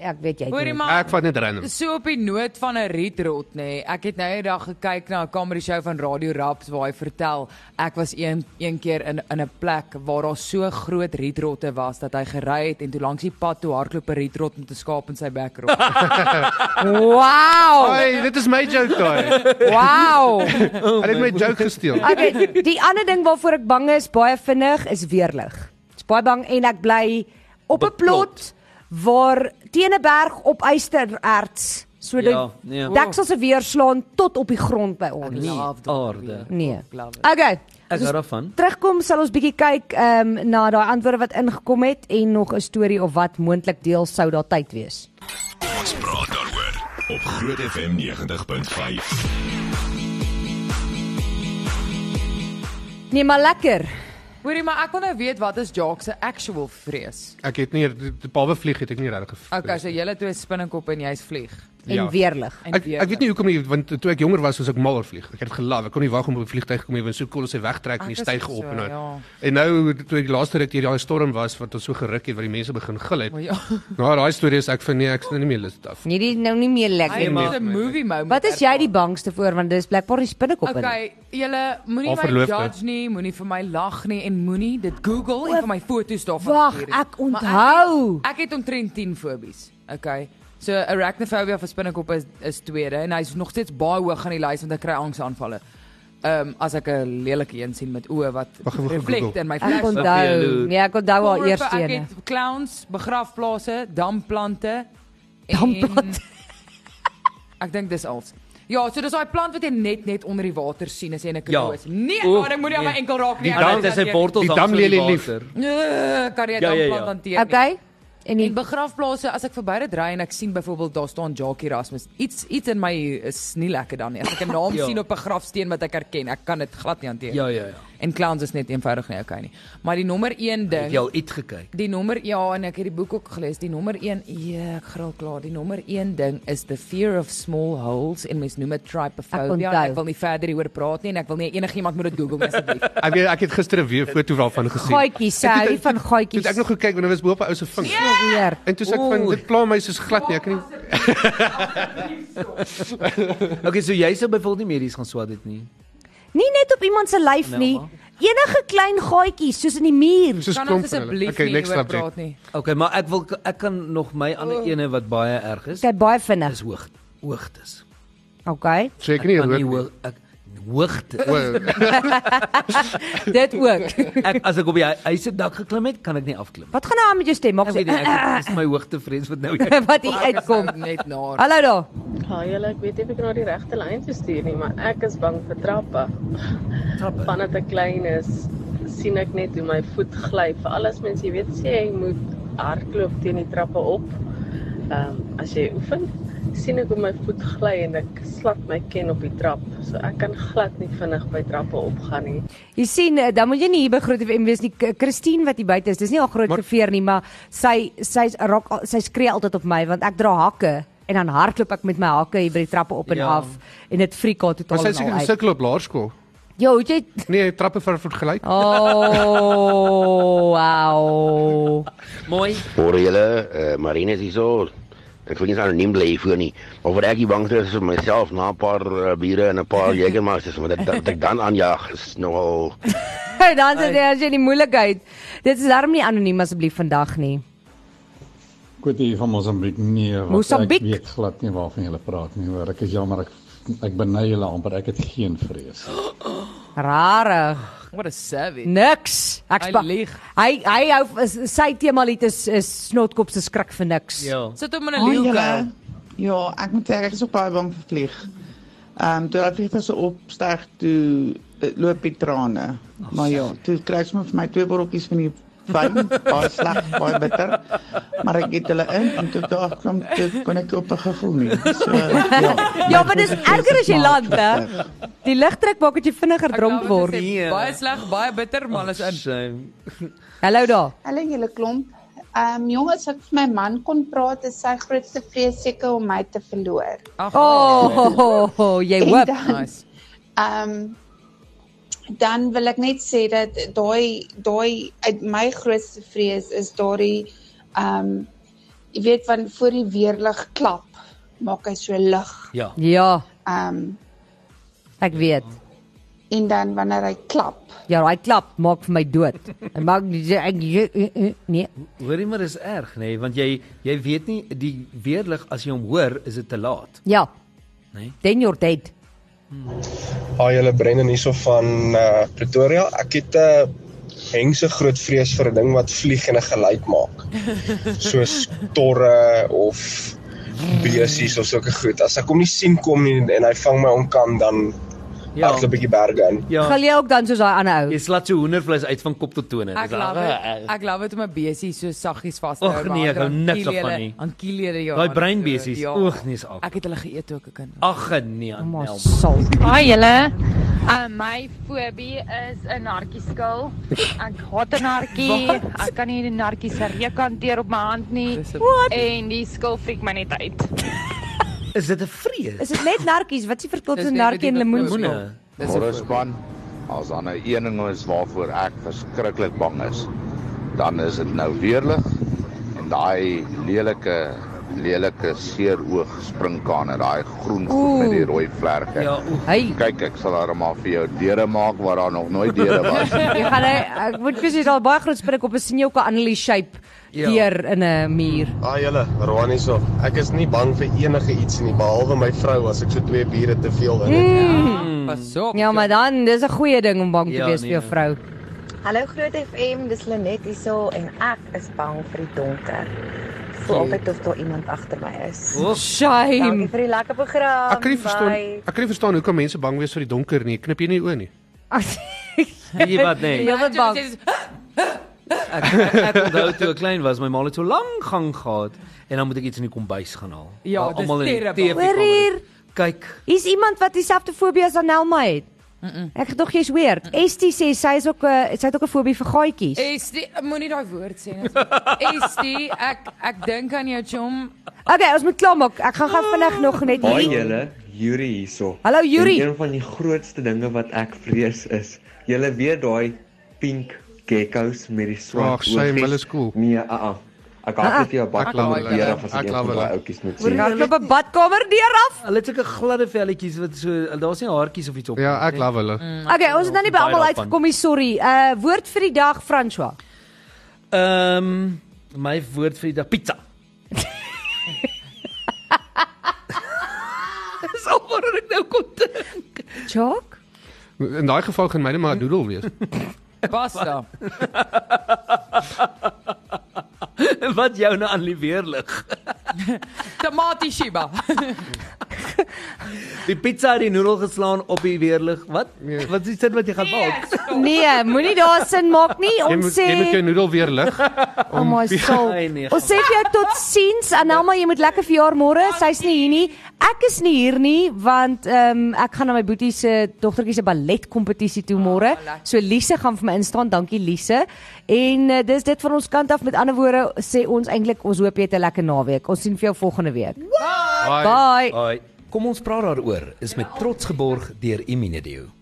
B: Ja, ek weet jy.
C: Hoorie
B: doen
C: maar
D: Ek vat net random.
C: so op die noot van 'n rietrot nê. Nee. Ek het nou eendag gekyk na 'n comedy show van Radio Raps waar hy vertel ek was een een keer in in 'n plek waar daar so groot rietrotte was dat hy gery het en toe langs die pad toe hardloop 'n rietrot met 'n skaap in sy bek rol.
B: dit. Wow.
D: Ai, dit is my joke daai.
B: Wow.
D: Hulle het my joke gesteel.
B: Okay, die ander ding waarvoor ek bang is baie vinnig is weerlig. Ek's baie bang en ek bly op 'n plot waar teen 'n berg op ystererts so die
E: Ja, nee.
B: deksel se weer slaan tot op die grond by ons.
E: Nee, aarde.
B: Nee.
C: Love it.
B: Okay.
E: Ek hou daarvan.
B: Terugkom sal ons bietjie kyk ehm um, na daai antwoorde wat ingekom het en nog 'n storie of wat moontlik deel sou daar tyd wees.
A: Ons praat daaroor op Groot FM 90.5.
B: Nee, maar lekker.
C: Hoorie maar ek wil nou weet wat is Jacques se actual vrees?
D: Ek het nie behalwe vlieg het ek nie regtig gevlieg.
C: Okay, so julle twee spinnekop en jy's vlieg.
B: En
D: Ja.
B: weerlig.
C: En
D: Ek ek weet nie hoekom nie want toe ek jonger was was ek mal oor vlieg. Ek het gelaaf. Ek kon nie wag om op die vliegtyg te kom nie want so cool as hy wegtrek en
C: Ek is
D: die styg
C: ook
D: op
C: so,
D: en nou.
C: ja.
D: En nou toe ek die laaste ruk hierdie daai storm was wat ons so geruk het wat die mense begin gil het.
C: Maar ja.
D: Nou daai storie is ek van nee ek is nou nie meer lus af.
B: Nee, dit nou nie meer
C: Hy
B: lekker.
C: het 'n movie moment.
B: Wat is jy die bangste voor want dis blikbaar die spinnekop in.
C: Okay, julle moenie
D: Al
C: my
D: verloofde.
C: judge nie, moenie vir my lag nie en moenie dit Google en vir my foto's daarvan
B: Wag,
C: stuur nie.
B: ek
C: Maar
B: onthou.
C: Ek, ek het omtrent 10 fobies. Okay. So arachnophobia vir spinnekoppe is, is tweede en hy's nog steeds baie hoog aan die lys want ek kry angsaanvalle. Ehm um, as ek 'n lelike een sien met oë wat
B: gou
C: reflect
B: Google.
C: in my
B: Ek
C: flash.
B: onthou. Ja, ek onthou al
C: Korpe,
B: eers
C: Ek
B: een.
C: het clowns, begrafplase, damplante. Damplante. ek dink dis al. Ja, so dis daai plant wat jy net net onder die water sien as jy in 'n
E: Ja.
C: kanoe is. Nee,
E: Oef,
C: maar ek moet nie aan my
E: nee.
C: enkel raak nie.
E: Die dam- dit is sy wortels Die hang so in die damlelie lief. water.
C: Nee, kan jy
E: Ja,
C: dan
E: ja, ja.
C: plant hanteer? Okay. En
B: nee.
C: die begrafplase as ek verby dit ry en ek sien byvoorbeeld daar staan Jackie Rasmus. Iets iets in my is nie lekker dan nie. As ek 'n naam
E: Ja.
C: sien op 'n grafsteen wat ek herken, ek kan dit glad nie hanteer.
E: Ja, ja, ja.
C: En clowns is net eenvoudig nie okay nie. Maar die nommer 1 ding
E: Het jy al iets gekyk?
C: Die nommer ja, en ek het die boek ook gelees. Die nommer 1, ja, ek gril klaar. Die nommer 1 ding is the fear of small holes en mens noem dit trypophobia.
D: Ek
C: Ek,
D: onthou.
C: ek wil nie verder hieroor praat nie en ek wil nie enigiemand moet dit Google nie asseblief.
D: Ek weet ek het gister 'n weer foto daarvan gesien.
B: Gaatjies,
D: Ek het-
B: hy van gaatjies.
D: Ek het nog gekyk wanneer was bo op 'n ou se ving.
B: Ja, weer.
D: En toe sê ek van
E: Oeh.
D: dit pla my soos glad nie, ek kan nie.
E: Okay, so jy sou byvoorbeeld nie medies gaan swat dit nie.
B: Nie net op iemand se lyf
E: Nee,
B: nie.
E: maar.
B: Enige klein gaatjies soos in die muur.
C: nie.
E: Okay, maar ek wil ek kan nog my ander
B: Oh. Ja.
E: ene wat baie erg is.
B: Dit baie vinnig. Dis
E: hoog. Hoogtes.
B: Okay.
E: Seker
D: Ja,
E: nie hoog ek hoogte.
B: Dit ook.
E: ek as ek op die hu- huis se dak geklim het, kan ek nie afklim.
B: Wat gaan nou aan met jou stem? Maak
E: Ek weet nie, ek
B: so.
E: dis my hoogtevrees wat nou
B: Wat hier uitkom.
C: net na.
B: Hallo daar.
N: Ja, julle, ek weet nie of ek na die regte lyn toe stuur nie, maar ek is bang vir trappe.
E: Trappe.
N: Vandat ek klein is, sien ek net hoe my voet gly. Vir alles mense, jy weet, sê jy moet hardloop teen die trappe op. Ehm um, as jy oefen, sien ek hoe my voet gly en ek slap my ken op die trap. So ek kan glad nie vinnig by trappe opgaan nie.
B: Jy sien, eh, dan moet jy nie hier by Groot FM wees nie. K- Christine wat hier buite is, dis nie haar groot geveer nie, maar sy sy raak al- sy skree altyd op my want ek dra hakke en dan hardloop ek met my hakke hier by die trappe op en
D: Ja.
B: af en dit freak haar
D: Maar
B: totaal
D: sy
B: en
D: sê
B: al
C: nou
D: sy
B: uit.
D: sukkel op laerskool.
B: Ja, hoe het jy
D: Nee, hy het trappe ver vergelyk.
B: Oh, wow.
E: Mooi.
O: Hoor julle, uh, Marine is hierso. Ek wil nie eens anoniem bly hiervoor nie. Maar wat ek die bang is vir myself na 'n paar uh, biere en 'n paar Jägermeisters, want dit dat ek dan aanjaag is nogal
B: dan sê jy as jy die moeilikheid. Dit is darm nie anoniem asseblief vandag nie.
P: Kwestie van Mosambiek nee, wat
B: Mosambiek?
P: ek weet glad nie waarvan jy praat nie hoor. Ek is jammer ek ek beny julle amper. Ek het geen vrees.
B: Rarig.
C: What a savage.
B: Niks. Ek
C: Hy
B: spa-
C: lieg.
B: Hy hy hou is- sy tema lied is is snotkop se skrik vir niks.
C: Sit hom in 'n
Q: Hoi,
C: leeukuil.
Q: julle. Ja, ek moet sê ek is ook baie bang vir vlieg. Ehm um, toe daai vlieg so opstyg toe eh, loop die trane. maar ja, toe kry ek sommer vir my twee botteltjies van die wyn, baie sleg, baie bitter. Maar ek het hulle in en toe daar kom toe kon ek op 'n gevoel nie. So ja.
B: Ja, maar dis erger as jy land, hè. Die ligtrek maak dat jy vinniger dronk word.
C: Baie sleg, baie bitter, maar alles in.
B: Hallo daar.
I: Hallo julle klomp. Ehm um, jongens, as ek vir my man kon praat, is sy grootste vrees seker om my te verloor.
C: Ag.
B: Oh, jy
I: En
B: hoop.
I: dan- Ehm dan wil ek net sê dat daai daai uit my grootste vrees is daai ehm jy weet van voor die weerlig klap maak hy so lig.
E: Ja.
B: Ja,
I: Ehm
B: ek weet.
I: en dan wanneer hy klap.
B: Ja, daai klap maak vir my dood. Hy maak ek nee.
E: Hoorie maar is erg nê, nee, want jy jy weet nie die weerlig as jy hom hoor, is dit te laat.
B: Ja.
E: Nee.
B: Then you're dead.
R: Haai julle Brendan hierso van uh, Pretoria. Ek het 'n uh, hengse groot vrees vir 'n ding wat vlieg en 'n geluid maak. Soos torre of besies of sulke goed. As ek hom nie sien kom nie en hy vang my onkam dan
E: Ja.
R: ja, ek 'n bietjie berge in.
B: Gaan jy ook dan soos daai ander
C: Ja.
B: ou?
E: Jy slat so hoendervleis uit van kop tot tone.
C: Ek
E: Dis
C: love
E: al-
C: dit. Ek love dit om 'n besie so saggies vas te
E: Och,
C: hou. maar
E: nee, ek hou
C: dan
E: niks
C: kiel jy
E: daarvan
C: hulle-
E: nie.
C: Dan kiel jy hulle, ja.
E: Daai
C: dan-
E: breinbesies,
C: ja.
E: oeg, nee, is af.
C: Ek het hulle geëet ook 'n kind.
E: Ag nee, Nel.
S: Hi julle. Uh, my fobie is 'n nartjieskil. Ek haat 'n nartjie.
T: Wat?
S: Ek kan nie die nartjie se reuk hanteer op my hand nie. En die skil freak my net uit.
E: Is dit 'n vrees?
B: Is dit net narkies? Wat is die verskil
S: Dis
B: tussen
S: net
B: narkie en
S: die
B: lemoenskil?
S: Dis 'n
U: Môre span, as dan 'n een ding is waarvoor ek verskriklik bang is, dan is dit nou weerlig en daai lelike
V: lelike seeroog springkane, daai groen goed
B: Ooh.
V: met die rooi vlerke. Ja,
B: hey.
V: Kyk, ek sal daar maar vir jou deure maak waar daar nog nooit deure was.
B: Jy gaan hy- ek moet presies al baie groot spring op 'n senjoka analy shape deur in 'n muur.
W: Ja. Ah julle, Roan hierso. Ek is nie bang vir enige iets nie behalwe my vrou as ek so twee biere te veel in het.
B: Mm. Pas op. Ja, maar dan dis 'n goeie ding om bang te
W: Ja,
B: wees vir
W: nee,
B: jou
W: nee.
B: vrou.
N: Hallo Groot FM, dis Lenet hierso en ek is bang vir die donker. Voel altyd of daar iemand agter my is.
D: Oh, shame.
N: Dankie vir die lekker program.
D: Ek kan nie verstaan
N: Bye.
D: ek kan nie verstaan hoekom mense bang wees vir die donker nie. Knip jy nie oë nie?
E: Weet jy wat nee?
B: Jy word bang.
E: Ek ek, ek onthou toe ek klein was, my ma het so lank gang gehad en dan moet ek iets in die kombuis gaan haal.
B: Ja,
E: Waar
B: dis
E: almal in die
B: terrible.
E: TV
B: Hoor hier.
E: Kyk.
B: Is iemand wat dieselfde fobie as Anelma het? Ek gedog jy's weird. Estie sê sy is ook 'n sy het ook 'n fobie vir gaatjies.
C: Is die moenie daai woord sê nie. Is die ek ek dink aan jou chom.
B: Okay, ons moet klaarmaak. Ek gaan gaan vinnig nog net
H: Haai
B: hier.
H: julle, Yuri hierso.
B: Hallo, Yuri.
H: En Een van die grootste dinge wat ek vrees is, julle weet daai pink geckos met die swart
D: Ag, shame, hulle is
H: cool. Nee, a a. Ek
B: Ah, ah.
H: haat dit jou bak
D: Ek love hulle.
H: hier af as
D: Ek
H: ek
D: love
H: van
D: hulle.
H: daai ouetjies moet
B: Hoor
H: sien.
B: jy, hulle loop 'n badkamer deur af.
E: Hulle het sulke gladde velletjies wat so daar's nie haartjies of iets op. Ja, ek
D: love hulle.
B: Okay, ons het nou nie by
E: Baie
B: almal
E: daarvan.
B: uitgekom nie, sorry. Uh woord vir die dag François.
E: Ehm my woord vir die dag pizza.
B: Dis al wat ek nou kon dink. Jock?
D: In daai geval gaan myne maar 'n doodle wees.
C: Basta.
E: wat jou nou aan die weer lig.
C: Tamati shiba.
E: Die pizza het die noedel geslaan op die weerlig. Wat? Nee. Wat is dit wat jy gaan maak?
B: Nee, moenie daar sin maak nie.
D: Jy
B: Ons
D: moet jy moet jou
B: sê
D: noedel weer lig.
B: Oh my soul.
D: Nee, nee,
B: Ons sê vir jou tot sins. Anelma, jy moet lekker verjaar môre. Sy's nie hier nie. Ek is nie hier nie want ehm um, ek gaan na my boetie se dogtertjie se balletkompetisie toe môre. So Lise gaan vir my instaan. Dankie Lise. En uh, dis dit van ons kant af. Met ander woorde sê ons eintlik ons hoop jy het 'n lekker naweek. Ons sien vir jou volgende week. Bye.
E: Bye. Kom ons praat daaroor. Is met trots geborg deur Imunedio.